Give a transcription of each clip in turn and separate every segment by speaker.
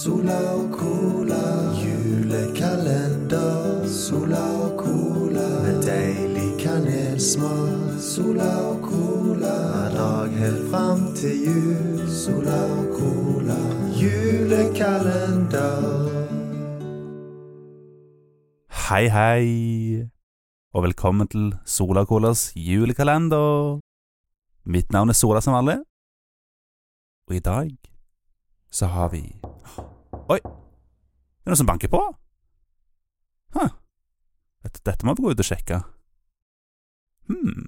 Speaker 1: Sola og cola, julekalender. Sola og cola, med deilig kanelsmak. Sola og cola, hver dag helt fram til jul. Sola og cola, julekalender.
Speaker 2: Hei, hei, og velkommen til Sola Colas julekalender. Mitt navn er Sola som vanlig, og i dag så har vi Oi, det er noen som banker på. Huh. Dette, dette må vi gå ut og sjekke. Hm.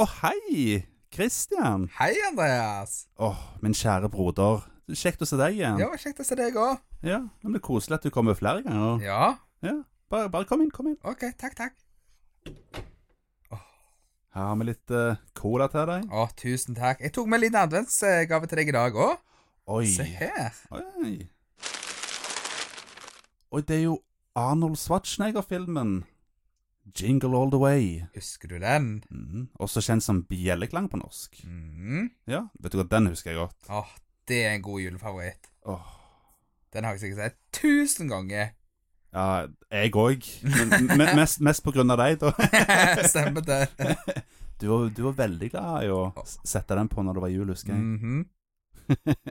Speaker 2: Å, hei, Christian.
Speaker 3: Hei, Andreas.
Speaker 2: Åh, min kjære broder. Kjekt å se deg igjen.
Speaker 3: Ja, kjekt å se deg òg.
Speaker 2: Ja, men Det er koselig at du kommer flere ganger.
Speaker 3: Ja.
Speaker 2: Bare, bare kom inn, kom inn.
Speaker 3: OK, takk, takk.
Speaker 2: Her har vi litt eh, cola til deg.
Speaker 3: Å, tusen takk. Jeg tok med en liten adventsgave til deg i dag òg.
Speaker 2: Oi.
Speaker 3: Se her.
Speaker 2: Oi. Oi, det er jo Arnold Schwarzenegger-filmen. 'Jingle All The Way'.
Speaker 3: Husker du den?
Speaker 2: Mhm. Også kjent som 'Bjelleklang' på norsk.
Speaker 3: Mm.
Speaker 2: Ja, vet du hva, den husker jeg godt.
Speaker 3: Å, det er en god julefavoritt.
Speaker 2: Åh.
Speaker 3: Den har jeg sikkert sett tusen ganger.
Speaker 2: Ja, jeg òg. Men men mest, mest på grunn av deg, da.
Speaker 3: Stemmer det.
Speaker 2: Du var, du var veldig glad i å s- sette den på når det var jul, husker jeg.
Speaker 3: Mhm.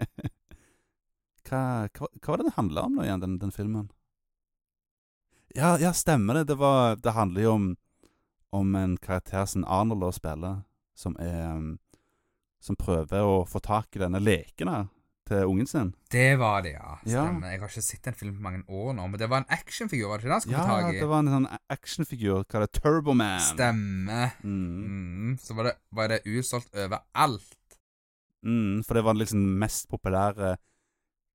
Speaker 2: Hva, hva, hva var det den handla om nå igjen, den, den filmen? Ja, ja, stemmer det. Det, var, det handler jo om, om en karakter som Arnold da spiller, som er um, Som prøver å få tak i denne leken her til ungen sin.
Speaker 3: Det var det, ja.
Speaker 2: Ja.
Speaker 3: Stemmer. Jeg har ikke sett en film på mange år nå, men det var en actionfigur, var det ikke det han skulle
Speaker 2: Ja,
Speaker 3: få tak i?
Speaker 2: det var en sånn a- actionfigur kalt Turboman.
Speaker 3: Stemmer.
Speaker 2: Mm,
Speaker 3: Mm. Så var det, var det utsolgt overalt.
Speaker 2: mm, for det var liksom den mest populære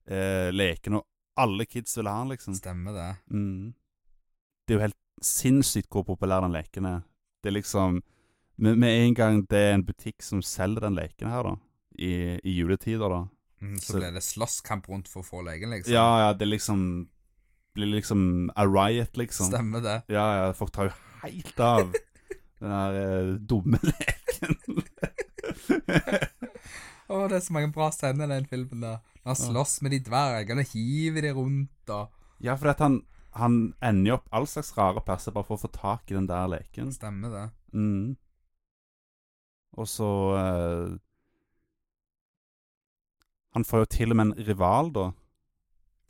Speaker 2: eh, leken, og alle kids ville ha den, liksom.
Speaker 3: Stemmer det.
Speaker 2: Mm. Det er jo helt sinnssykt hvor populær den leken er. Det er liksom Med, med en gang det er en butikk som selger den leken her, da, i, i juletider, da
Speaker 3: Mm, så,
Speaker 2: Så-
Speaker 3: ble det slåsskamp rundt for å få legen, liksom.
Speaker 2: Ja, ja, det er liksom Blir liksom a riot, liksom.
Speaker 3: Stemmer det.
Speaker 2: Ja, ja, folk tar jo helt av den der eh, dumme leken.
Speaker 3: Å, det er så mange bra scener i den filmen der. Når han
Speaker 2: Ja.
Speaker 3: slåss med de dvergene og hiver de rundt og
Speaker 2: ja, for at han han ender jo opp all slags rare plasser bare for å få tak i den der leken.
Speaker 3: Stemmer det.
Speaker 2: Mm. Og så eh, Han får jo til og med en rival, da.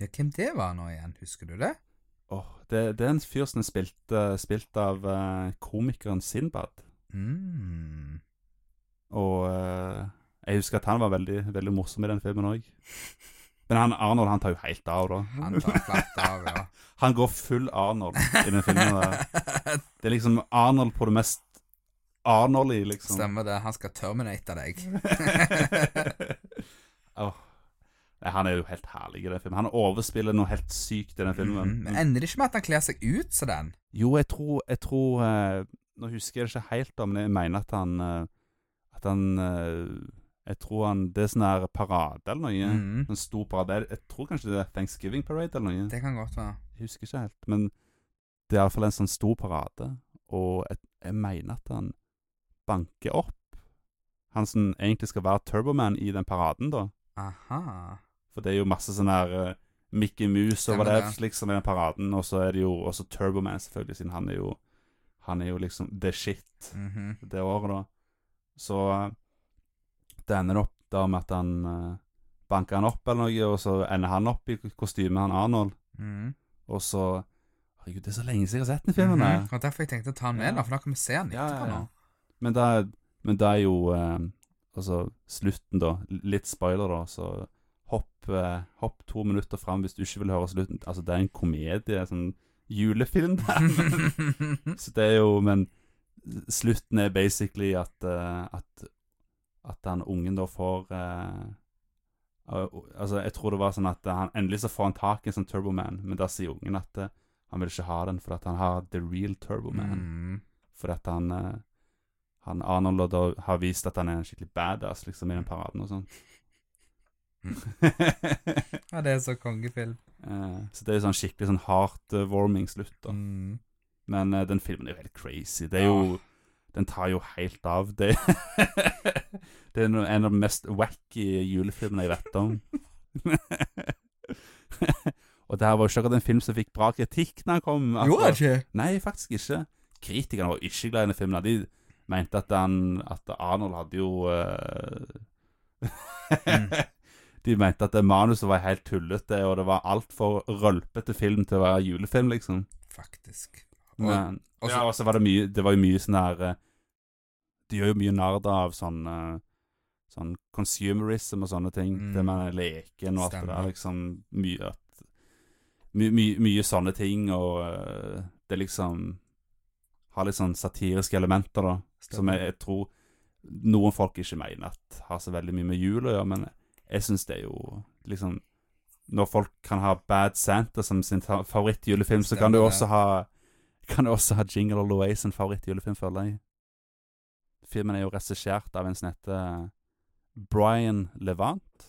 Speaker 3: Ja, hvem det var nå igjen, husker du det?
Speaker 2: Åh, det, det er en fyr som er spilt, eh, spilt av eh, komikeren Sinbad.
Speaker 3: Mm.
Speaker 2: Og eh, jeg husker at han var veldig, veldig morsom i den filmen òg. Men han Arnold han tar jo helt av, da.
Speaker 3: Han tar flatt av, ja.
Speaker 2: Han går full Arnold i den filmen. der. Det er liksom Arnold på det mest Arnold i, liksom.
Speaker 3: Stemmer det. Han skal terminate deg.
Speaker 2: Åh. Nei, han er jo helt herlig i den filmen. Han overspiller noe helt sykt i den filmen. Mm.
Speaker 3: Mhm. Men ender det ikke med at han kler seg ut som den?
Speaker 2: Jo, jeg tror, jeg tror eh, Nå husker jeg det ikke helt, da, men jeg mener at han eh, At han eh, Jeg tror han Det er sånn her parade eller noe.
Speaker 3: Mhm.
Speaker 2: En stor parade. Jeg tror kanskje det er Thanksgiving Parade eller noe.
Speaker 3: Det kan godt være.
Speaker 2: Jeg husker ikke helt. Men det er iallfall en sånn stor parade, og jeg, jeg mener at han banker opp han som egentlig skal være Turboman i den paraden, da.
Speaker 3: Aha.
Speaker 2: For det er jo masse sånn her eh, Mickey Mouse og
Speaker 3: Stemmer
Speaker 2: whatever, liksom, i den paraden. Og så er det jo også Turboman, selvfølgelig, siden han er jo Han er jo liksom the shit
Speaker 3: Mhm.
Speaker 2: det året, da. Så eh, det ender opp da med at han eh, banker han opp eller noe, og så ender han opp i kostymet han Arnold,
Speaker 3: Mhm.
Speaker 2: og så Herregud, det er så lenge siden jeg har sett den filmen der.
Speaker 3: Mhm. Og derfor jeg tenkte å ta han med,
Speaker 2: Ja.
Speaker 3: da, for da kan vi se han
Speaker 2: Ja, ja,
Speaker 3: etterpå
Speaker 2: ja.
Speaker 3: nå.
Speaker 2: Men det er, men det er jo eh, Altså, slutten, da. Litt spoiler, da. Så hopp, eh, hopp to minutter fram hvis du ikke vil høre slutten. Altså, det er en komedie. en Sånn julefilm. Der. Men, så det er jo Men slutten er basically at eh, at, at han ungen da får eh, al- Altså, jeg tror det var sånn at han endelig så får han tak i en sånn Turboman, men da sier ungen at eh, han vil ikke ha den fordi at han har the real Turboman.
Speaker 3: Mhm.
Speaker 2: Fordi at han, eh, han Arnold og da har vist at han er en skikkelig badass liksom, i den paraden og sånn.
Speaker 3: Mm. Ja, det er så kongefilm.
Speaker 2: Eh, så det er jo sånn skikkelig sånn heartwarming slutt, da.
Speaker 3: Mm.
Speaker 2: Men eh, den filmen er jo helt crazy. Det er jo Den tar jo helt av. Det, det er no- en av de mest wacky julefilmene jeg vet om. og det her var jo ikke akkurat en film som fikk bra kritikk når han kom.
Speaker 3: Jo, er
Speaker 2: akkurat.
Speaker 3: det ikke?
Speaker 2: Nei, faktisk ikke. Kritikerne var ikke glad i denne filmen. De mente at, han, at Arnold hadde jo eh, De mente at det manuset var helt tullete, og det var altfor rølpete film til å være julefilm, liksom.
Speaker 3: Faktisk. Og,
Speaker 2: Men,
Speaker 3: og så-
Speaker 2: ja, og så var det mye Det var jo mye sånn her eh, De gjør jo mye narr av sånn eh, Sånn consumerism og sånne ting.
Speaker 3: Mm.
Speaker 2: Det med leken og alt det
Speaker 3: Stemmer.
Speaker 2: der. Liksom mye at my, my, Mye sånne ting, og eh, det liksom Har litt sånn satiriske elementer, da. Som jeg, jeg tror noen folk ikke mener at har så veldig mye med jul å gjøre, men jeg syns det er jo liksom Når folk kan ha Bad Santa som sin ta- favorittjulefilm, så kan du
Speaker 3: Stemmer det.
Speaker 2: også ha Kan du også ha Jingle All The Way som favorittjulefilm, føler jeg. Filmen er jo regissert av en som heter Brian Levant,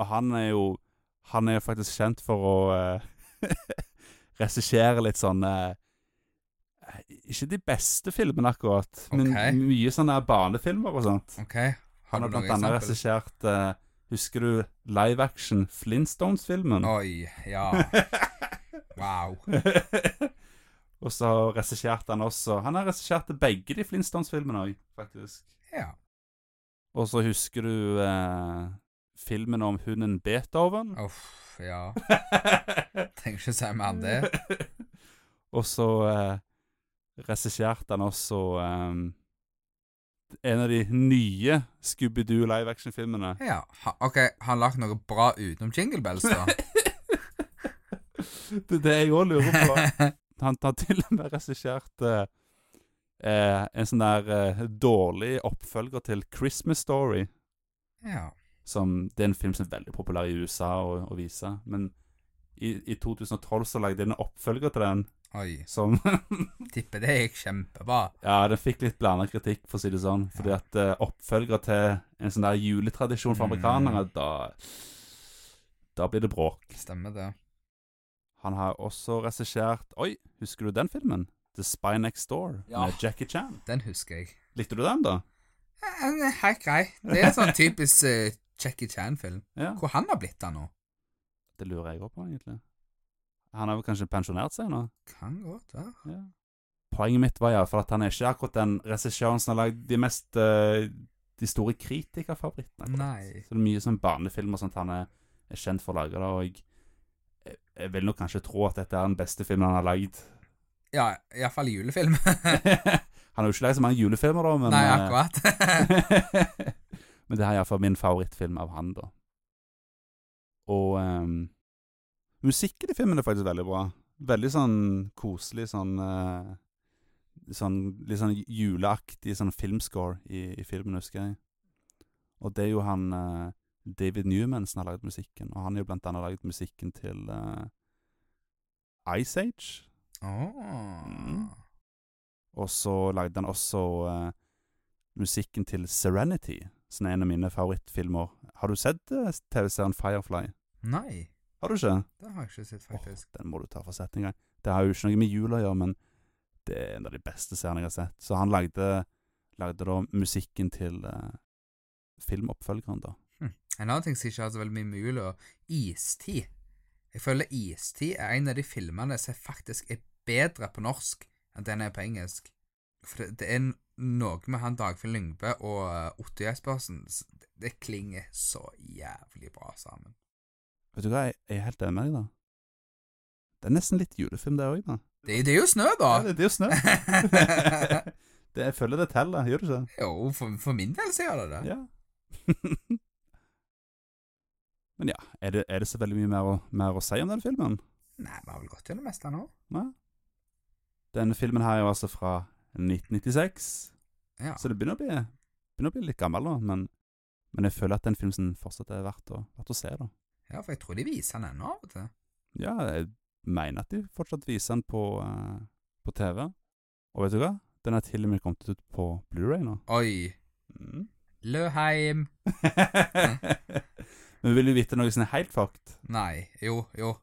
Speaker 2: og han er jo Han er jo faktisk kjent for å eh, regissere litt sånn eh, Ikke de beste filmene, akkurat,
Speaker 3: Ok.
Speaker 2: men mye sånne barnefilmer og sånt.
Speaker 3: OK.
Speaker 2: Han har
Speaker 3: Har du noe
Speaker 2: blant annet
Speaker 3: eksempel?
Speaker 2: regissert eh, Husker du live action Flintstones-filmen?
Speaker 3: Oi, ja. Wow.
Speaker 2: og så regisserte han også Han har regissert begge de Flintstones-filmene òg, faktisk.
Speaker 3: Ja.
Speaker 2: Og så husker du eh, filmen om hunden Beethoven?
Speaker 3: Uff, ja. Trenger ikke si mer enn det.
Speaker 2: og så eh, regisserte han også eh, en av de nye Scooby-Doo live action-filmene.
Speaker 3: Ja. Ha, OK, har han lagd noe bra utenom Jingle Bells, da?
Speaker 2: Det er det jeg òg lurer på. Han har til og med regissert eh, eh, en sånn der eh, dårlig oppfølger til Christmas Story.
Speaker 3: ja.
Speaker 2: Som, det er en film som er veldig populær i USA å, å vise. Men i, i 2012 så lagde de en oppfølger til den
Speaker 3: Oi.
Speaker 2: som
Speaker 3: Tipper det gikk kjempebra.
Speaker 2: Ja, den fikk litt blanda kritikk, for å si det sånn. Fordi at eh, oppfølger til en sånn der juletradisjon for
Speaker 3: Mm.
Speaker 2: amerikanere, da Da blir det bråk.
Speaker 3: Stemmer det.
Speaker 2: Han har også regissert Oi, husker du den filmen? The Spy Next Door
Speaker 3: Ja.
Speaker 2: med Jackie Chan.
Speaker 3: Den husker jeg.
Speaker 2: Likte du den, da?
Speaker 3: Ja, den er Helt grei. Det er en sånn typisk eh, Jackie Chan-film.
Speaker 2: Ja,
Speaker 3: Hvor han har blitt av nå?
Speaker 2: det lurer jeg òg på, egentlig. Han har vel kanskje pensjonert seg nå?
Speaker 3: Kan godt være.
Speaker 2: Ja. Poenget mitt var iallfall at han er ikke akkurat den regissøren som har lagd de mest eh, De store kritikerfavorittene. akkurat.
Speaker 3: Nei.
Speaker 2: Så det er mye sånn barnefilm og sånt han er, er kjent for å lage, da, og jeg, jeg, jeg vil nok kanskje tro at dette er den beste filmen han har lagd.
Speaker 3: Ja, iallfall julefilm.
Speaker 2: han har jo ikke lagd så mange julefilmer, da, men
Speaker 3: Nei,
Speaker 2: eh,
Speaker 3: akkurat.
Speaker 2: Men det her er iallfall min favorittfilm av han, da. Og ehm, musikken i filmen er faktisk veldig bra. Veldig sånn koselig, sånn eh, Sånn litt sånn juleaktig sånn filmscore i, i filmen, husker jeg. Og det er jo han eh, David Newman som har lagd musikken, og han har jo blant annet lagd musikken til eh, Ice Age. Mm.
Speaker 3: Åh.
Speaker 2: Og så lagde han også eh, musikken til Serenity, som er en av mine favorittfilmer. Har du sett eh, TV-serien Firefly?
Speaker 3: Nei,
Speaker 2: Har du ikke?
Speaker 3: det har jeg ikke sett,
Speaker 2: Åh,
Speaker 3: faktisk.
Speaker 2: den må du ta for sett en gang. Det har jo ikke noe med jul å gjøre, men det er en av de beste seriene jeg har sett. Så han lagde, lagde da musikken til eh, filmoppfølgeren, da.
Speaker 3: Hm. En annen ting som ikke har så veldig mye med jul å Istid. Jeg føler Istid er en av de filmene som faktisk er bedre på norsk enn den er på engelsk. For det, det er noe med han Dagfinn Lyngbø og eh, Otto Jespersen s- Det klinger så jævlig bra sammen.
Speaker 2: Vet du hva, jeg, jeg er helt enig med deg, da. Det er nesten litt julefilm, det òg, da.
Speaker 3: Det, det er jo snø, da!
Speaker 2: Ja, det, det er jo snø. det, jeg føler det teller, gjør det ikke?
Speaker 3: jo, for, for min del så gjør det det.
Speaker 2: Ja. Men ja, er det, er det så veldig mye mer å, mer å si om den filmen?
Speaker 3: Nei, vi har vel gått gjennom det meste nå.
Speaker 2: Nei? Denne filmen her er jo altså fra 1996,
Speaker 3: Ja.
Speaker 2: så det begynner å bli, begynner å bli litt gammel nå, men, men jeg føler at den filmen som fortsatt er verdt å, verdt å se da.
Speaker 3: ja, for jeg tror de viser den ennå av og til.
Speaker 2: Ja, jeg mener at de fortsatt viser den på, eh, på TV. Og vet du hva? Den er til og med kommet ut på Blu-ray nå.
Speaker 3: Oi.
Speaker 2: Mm.
Speaker 3: Løheim.
Speaker 2: men vil du vite noe som er helt fucked?
Speaker 3: Nei. Jo, jo.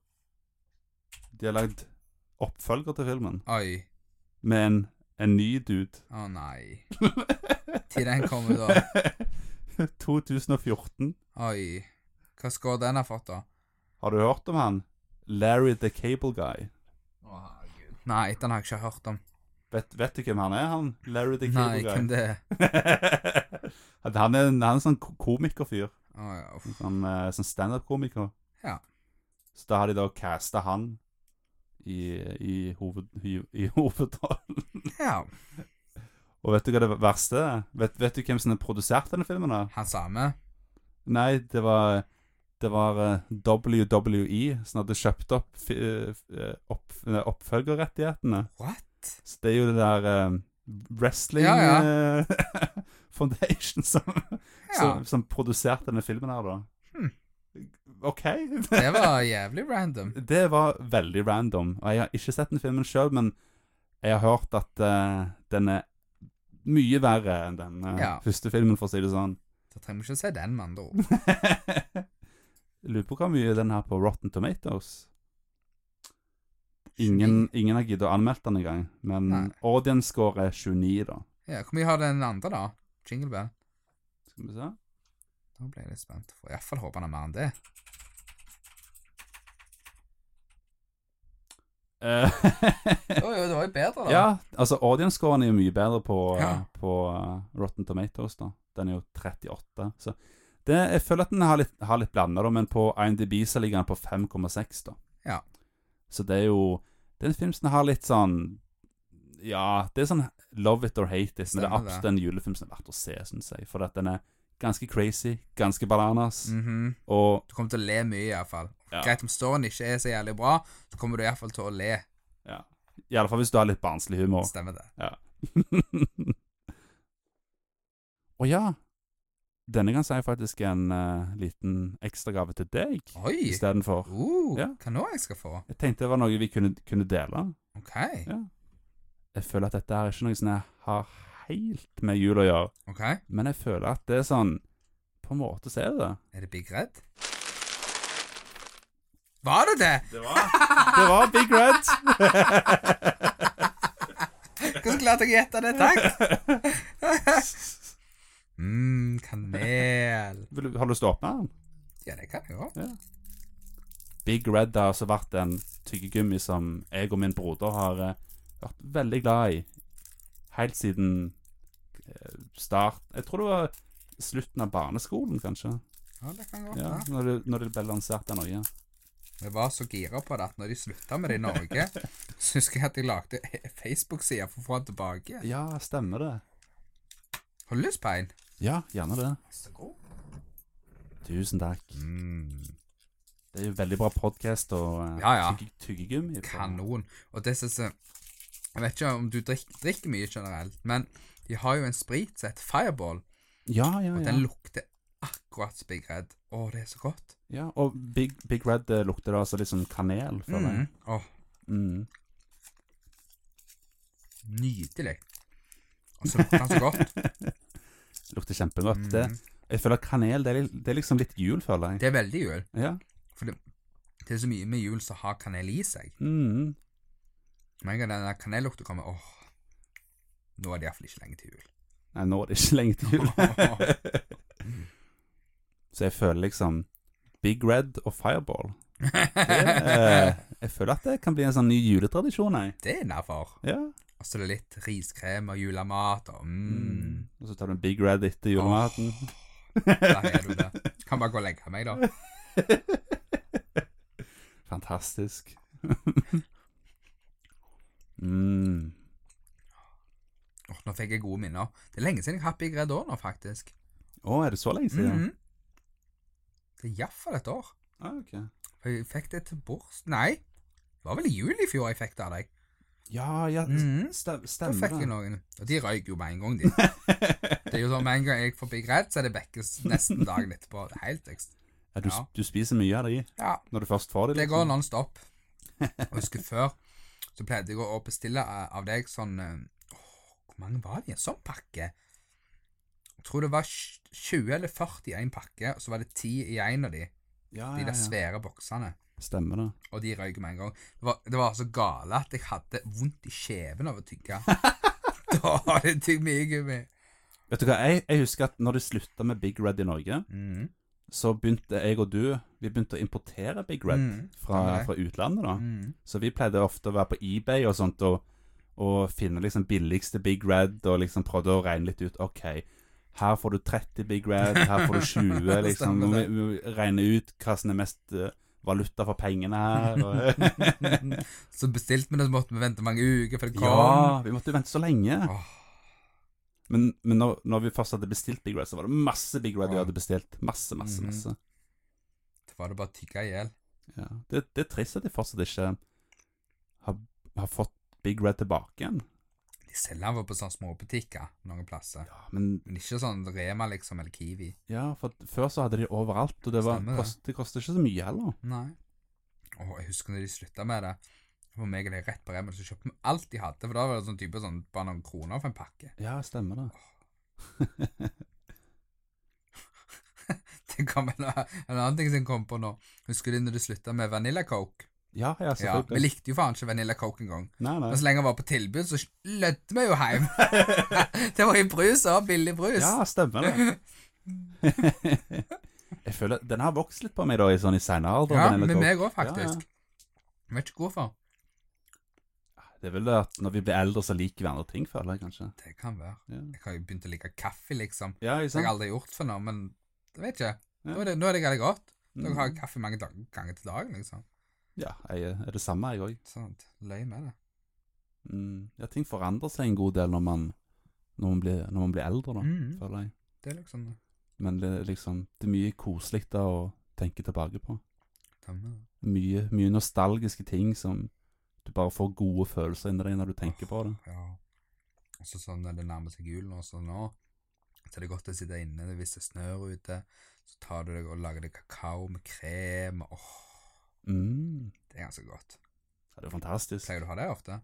Speaker 2: De har lagd oppfølger til filmen
Speaker 3: Oi.
Speaker 2: med en, en ny dude.
Speaker 3: Å nei. Til den kommer da.
Speaker 2: 2014.
Speaker 3: Oi. Hva score den har fått, da?
Speaker 2: Har du hørt om han? Larry the Cable Guy.
Speaker 3: Nei, den har jeg ikke hørt om.
Speaker 2: Vet, vet du hvem han er, han? Larry the Cable
Speaker 3: Nei,
Speaker 2: Guy.
Speaker 3: hvem det er?
Speaker 2: At han, er, en- han er en sånn ko- komikerfyr.
Speaker 3: Å, ja, uff.
Speaker 2: Sånn, eh, sånn standup-komiker.
Speaker 3: Ja.
Speaker 2: Så da har de da casta han i, i, hoved, i, i hovedrollen.
Speaker 3: ja.
Speaker 2: Og vet du hva det verste er? Vet, vet du hvem som har produsert denne filmen? da?
Speaker 3: Han samme?
Speaker 2: Nei, det var det var eh, WWE som hadde kjøpt opp, fi- eh, f- eh, opp eh, oppfølgerrettighetene.
Speaker 3: What?
Speaker 2: Så det er jo det der eh, Wrestling
Speaker 3: Ja,
Speaker 2: eh, Foundation som,
Speaker 3: Ja.
Speaker 2: som, som produserte denne filmen her, da.
Speaker 3: Hmm.
Speaker 2: OK.
Speaker 3: Det var jævlig random.
Speaker 2: det var veldig random. Og jeg har ikke sett den filmen sjøl, men jeg har hørt at eh, den er mye verre enn den eh,
Speaker 3: Ja.
Speaker 2: første filmen, for å si det sånn.
Speaker 3: Da trenger vi ikke se den, med andre ord.
Speaker 2: Lurer på hvor mye den her på Rotten Tomatoes. Ingen, ingen har giddet å anmelde den engang, men
Speaker 3: Nei.
Speaker 2: audience score er 29, da.
Speaker 3: Ja, Hvor mye har den andre, da? Jingle Bell?
Speaker 2: Skal vi se.
Speaker 3: Nå ble jeg litt spent. Får iallfall håpe han har mer enn det.
Speaker 2: Eh,
Speaker 3: Jo, jo, det var jo bedre, da.
Speaker 2: ja, altså audience scoren er jo mye bedre på,
Speaker 3: Ja.
Speaker 2: på eh, Rotten Tomatoes, da. Den er jo 38. Så det, jeg føler at den har litt, har litt blanda, da, men på IMDb så ligger den på 5,6, da.
Speaker 3: Ja.
Speaker 2: Så det er jo Det er en film som har litt sånn Ja, det er sånn love it or hate it, men det er
Speaker 3: Stemmer det.
Speaker 2: absolutt en julefilm som er verdt å se, syns jeg. For at den er ganske crazy, ganske bananas,
Speaker 3: Mhm.
Speaker 2: og
Speaker 3: Du kommer til å le mye, iallfall.
Speaker 2: Ja.
Speaker 3: fall Greit om storyen ikke er så jævlig bra, så kommer du iallfall til å le.
Speaker 2: ja, iallfall hvis du har litt barnslig humor.
Speaker 3: Stemmer det.
Speaker 2: Å ja. Denne kan si faktisk en eh, liten ekstragave til deg
Speaker 3: Oi!
Speaker 2: istedenfor.
Speaker 3: Uh,
Speaker 2: Ja.
Speaker 3: Hva nå jeg skal få?
Speaker 2: Jeg tenkte det var noe vi kunne, kunne dele.
Speaker 3: OK.
Speaker 2: Ja. Jeg føler at dette her er ikke noe som jeg har helt med jul å gjøre,
Speaker 3: ok
Speaker 2: men jeg føler at det er sånn På en måte så er det det.
Speaker 3: Er det Big Red? Var det det?
Speaker 2: Det var, det var Big Red.
Speaker 3: Hvordan klarte jeg å gjette det? Takk. mm, kanel.
Speaker 2: Vil du, har du lyst til å åpne den?
Speaker 3: Ja, det kan jeg jo.
Speaker 2: Big Red har altså vært en tyggegummi som jeg og min broder har eh, vært veldig glad i. Helt siden eh, start Jeg tror det var slutten av barneskolen, kanskje.
Speaker 3: Ja, det kan jeg godt
Speaker 2: Ja,
Speaker 3: være.
Speaker 2: når det, når det ble lansert i Norge.
Speaker 3: Vi var så gira på det at når de slutta med det i Norge, så husker jeg at de lagde Facebook-side for å få den tilbake.
Speaker 2: Ja, stemmer det.
Speaker 3: Har du lyst på en?
Speaker 2: Ja, gjerne det.
Speaker 3: Så god.
Speaker 2: Tusen takk.
Speaker 3: Mm.
Speaker 2: Det er jo veldig bra podkast og eh,
Speaker 3: Ja, ja.
Speaker 2: tygge- tyggegummi. på-
Speaker 3: Kanon. Og det synes jeg Jeg vet ikke om du drikker, drikker mye generelt, men de har jo en sprit som heter Fireball,
Speaker 2: Ja, ja,
Speaker 3: og
Speaker 2: ja.
Speaker 3: den lukter akkurat som Big Red. Å, det er så godt.
Speaker 2: ja. Og Big, Big Red eh, lukter da altså litt sånn kanel for meg.
Speaker 3: Mm. Åh,
Speaker 2: Mm.
Speaker 3: nydelig. Og så lukter den så godt.
Speaker 2: Lukter kjempegodt. Det, jeg føler kanel det er, li- det er liksom litt jul, føler jeg.
Speaker 3: Det er veldig jul.
Speaker 2: Ja.
Speaker 3: For det, det er så mye med jul som har kanel i seg.
Speaker 2: Mm.
Speaker 3: Med en gang den der kanellukten kommer, åh Nå er det iallfall ikke lenge til jul.
Speaker 2: Nei, nå er det ikke lenge til jul. Så jeg føler liksom Big Red og Fireball. Det, eh, jeg føler at det kan bli en sånn ny juletradisjon, jeg.
Speaker 3: Det er innafor.
Speaker 2: Ja.
Speaker 3: Og så er det litt riskrem og julemat og mm.
Speaker 2: Og så tar du en Big Red etter julematen.
Speaker 3: Der er du det. Kan bare gå og legge meg, da.
Speaker 2: Fantastisk. mm.
Speaker 3: Åh, nå fikk jeg gode minner. Det er lenge siden jeg har hatt Big Red år nå, faktisk.
Speaker 2: Å, er det så lenge siden?
Speaker 3: Mhm. Det er iallfall et år.
Speaker 2: Ah, ok.
Speaker 3: For jeg fikk det til bords Nei, det var vel i juli i fjor jeg fikk det av deg.
Speaker 2: Ja, ja,
Speaker 3: Mhm.
Speaker 2: stem,
Speaker 3: Da
Speaker 2: stemmer
Speaker 3: fikk jeg
Speaker 2: det.
Speaker 3: noen. Og de røyk jo med en gang, de. Det er jo sånn, Med en gang jeg får Big Red, så er det Bekkes nesten dagen etterpå. Det er helt ekst.
Speaker 2: Ja, du,
Speaker 3: Ja.
Speaker 2: du spiser mye av det i
Speaker 3: Ja,
Speaker 2: når du først får det.
Speaker 3: Det
Speaker 2: liksom.
Speaker 3: går non stop. Jeg husker før så pleide jeg å bestille eh, av deg sånn eh, åh, Hvor mange var det i en sånn pakke? Jeg tror det var tj- 20 eller 40 i en pakke, og så var det 10 i en av de.
Speaker 2: Ja,
Speaker 3: De
Speaker 2: ja,
Speaker 3: der
Speaker 2: ja.
Speaker 3: svære boksene.
Speaker 2: Stemmer det.
Speaker 3: Og de røyk med en gang. Det var, det var så gale at jeg hadde vondt i kjeven av å tygge. da har jeg tygd mye gummi.
Speaker 2: Vet du hva, jeg, jeg husker at når det slutta med Big Red i Norge,
Speaker 3: Mhm.
Speaker 2: så begynte jeg og du Vi begynte å importere Big Red
Speaker 3: Mm,
Speaker 2: fra,
Speaker 3: stemmer det.
Speaker 2: fra utlandet. da
Speaker 3: Mm.
Speaker 2: Så vi pleide ofte å være på eBay og sånt og, og finne liksom billigste Big Red og liksom prøvde å regne litt ut OK, her får du 30 Big Red, her får du 20, liksom.
Speaker 3: Stemmer
Speaker 2: Vi,
Speaker 3: det.
Speaker 2: vi regner ut hva som er mest eh, valuta for pengene her. Og
Speaker 3: Så bestilte vi det, så måtte vi vente mange uker før det kom.
Speaker 2: ja, vi måtte jo vente så lenge.
Speaker 3: Åh.
Speaker 2: Men, men når, når vi først hadde bestilt Big Red, så var det masse Big Red vi
Speaker 3: Ja.
Speaker 2: hadde bestilt. Masse, masse,
Speaker 3: Mhm.
Speaker 2: masse.
Speaker 3: Da var det bare å tygge i hjel.
Speaker 2: Ja. Det, det er trist at de fortsatt ikke har, har fått Big Red tilbake igjen.
Speaker 3: De selger den vel på sånne småbutikker noen plasser.
Speaker 2: Ja, men
Speaker 3: Men ikke sånn Rema, liksom, eller Kiwi.
Speaker 2: Ja, for at før så hadde de overalt, og det, var,
Speaker 3: Stemmer det.
Speaker 2: kost, det kostet ikke så mye heller.
Speaker 3: Nei. Åh, jeg husker når de slutta med det. For meg og det rett på Rema, så kjøpte vi alt de hadde. For da var det sånn type sånn bare noen kroner for en pakke.
Speaker 2: Ja, stemmer det.
Speaker 3: Det kom en, en annen ting som jeg kom på nå. Husker du når de slutta med Vanilla Coke?
Speaker 2: Ja, ja,
Speaker 3: Ja, altså, vi
Speaker 2: selvfølgelig.
Speaker 3: likte jo faen ikke Vanilla Coke engang.
Speaker 2: nei, nei.
Speaker 3: Men så lenge den var på tilbud, så lødde vi jo hjem. det var jo brus og billig brus.
Speaker 2: Ja, stemmer det. jeg føler, Den har vokst litt på meg da, i sånn i senere alder.
Speaker 3: Ja,
Speaker 2: Vanilla
Speaker 3: med
Speaker 2: Coke.
Speaker 3: meg òg,
Speaker 2: Ja,
Speaker 3: faktisk. Jeg Vet ikke hvorfor.
Speaker 2: Det er vel det at når vi blir eldre, så liker vi andre ting, føler jeg kanskje.
Speaker 3: Det kan være.
Speaker 2: Ja,
Speaker 3: Jeg har jo begynt å like kaffe, liksom.
Speaker 2: ja ikke
Speaker 3: Det har jeg
Speaker 2: sant?
Speaker 3: aldri gjort før nå, men jeg vet ikke.
Speaker 2: Ja.
Speaker 3: Nå er det, nå er det veldig godt. Nå har jeg
Speaker 2: Mm.
Speaker 3: kaffe mange dag ganger til dagen, liksom.
Speaker 2: Ja, jeg er det samme, jeg òg.
Speaker 3: Sånn, løy med det.
Speaker 2: Mm. Ja, ting forandrer seg en god del når man, når man, blir, når man blir eldre, da,
Speaker 3: Mm.
Speaker 2: føler jeg.
Speaker 3: Det er liksom det.
Speaker 2: Men det, er liksom, det er mye koselig da å tenke tilbake på.
Speaker 3: Stemmer det.
Speaker 2: mye, mye nostalgiske ting som du bare får gode følelser inni deg når du tenker på det.
Speaker 3: Ja. Og så sånn når det nærmer seg jul nå, så nå så er det godt å sitte inne hvis det snør ute. Så tar du deg og lager deg kakao med krem. Åh,
Speaker 2: Mm.
Speaker 3: det er ganske godt.
Speaker 2: Ja, det er jo fantastisk.
Speaker 3: Pleier du å ha det ofte?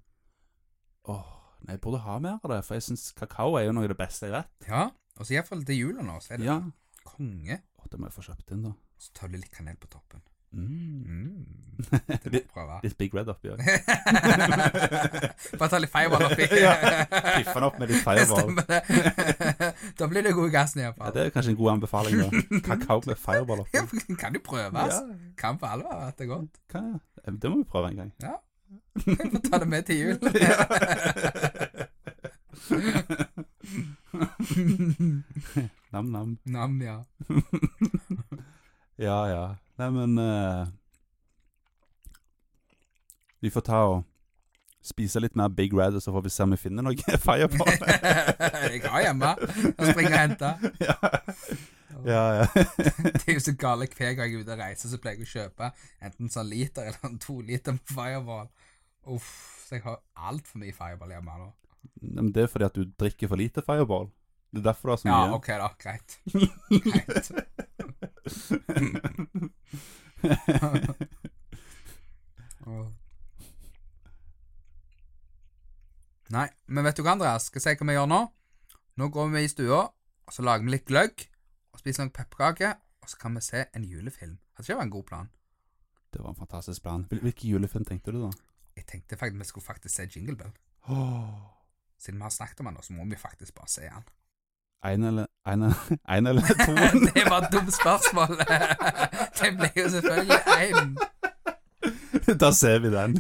Speaker 2: Åh, nei, jeg burde ha mer av det, for jeg syns kakao er jo noe av det beste jeg vet.
Speaker 3: Ja. Og så i hvert fall til jula nå, så er det
Speaker 2: Ja.
Speaker 3: konge.
Speaker 2: Åh, det må jeg få kjøpt inn, da.
Speaker 3: Så tar du litt kanel på toppen.
Speaker 2: Mm.
Speaker 3: Mm. Det må
Speaker 2: litt,
Speaker 3: jeg prøve.
Speaker 2: litt Big Red oppi òg.
Speaker 3: Bare ta litt fireball oppi.
Speaker 2: Ja, Piffe den opp med litt fireball.
Speaker 3: Stemmer det. Da blir det god gassen i hvert
Speaker 2: Ja,
Speaker 3: fall.
Speaker 2: det er kanskje en god anbefaling, da. Kakao med fireball oppi.
Speaker 3: Ja, Kan jo prøves.
Speaker 2: Ja,
Speaker 3: Kan på alvor være at det er godt.
Speaker 2: hva- det må vi prøve en gang.
Speaker 3: Jeg får ta det med til jul.
Speaker 2: Nam-nam.
Speaker 3: Nam, ja.
Speaker 2: Ja, ja. Nei, men eh, Vi får ta og spise litt mer Big Red, og så får vi se om vi finner noe fireball.
Speaker 3: Jeg har hjemme. Jeg springer og henter.
Speaker 2: ja. ja, ja.
Speaker 3: Det er jo så gale hver gang jeg er ute og reiser, så pleier jeg å kjøpe enten sånn liter eller en to liter med fireball. Uff, så jeg har altfor mye fireball hjemme nå.
Speaker 2: Nei, Men det er fordi at du drikker for lite fireball. Det er derfor du har så
Speaker 3: Ja,
Speaker 2: mye.
Speaker 3: ok da, greit. greit. Åh. Nei, men vet du hva, Andreas? Skal jeg si hva vi gjør nå? Nå går vi i stua, og så lager vi litt gløgg, og spiser noen pepperkaker, og så kan vi se en julefilm. Hadde ikke det vært en god plan?
Speaker 2: Det var en fantastisk plan. Hvil- Hvilken julefilm tenkte du, da?
Speaker 3: Jeg tenkte faktisk vi skulle faktisk se Jingle Bell.
Speaker 2: Åh.
Speaker 3: Siden vi har snakket om den, nå, så må vi faktisk bare se den.
Speaker 2: En eller, en, eller- en eller to?
Speaker 3: Det var et dumt spørsmål. Det ble jo selvfølgelig én.
Speaker 2: da ser vi den.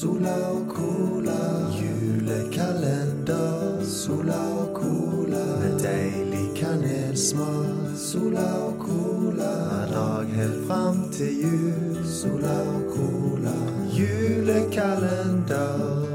Speaker 1: Sola og cola, julekalender. Sola og cola, med deilig kanelsmak. Sola og cola, hver dag helt fram til jul. Sola og cola, julekalender.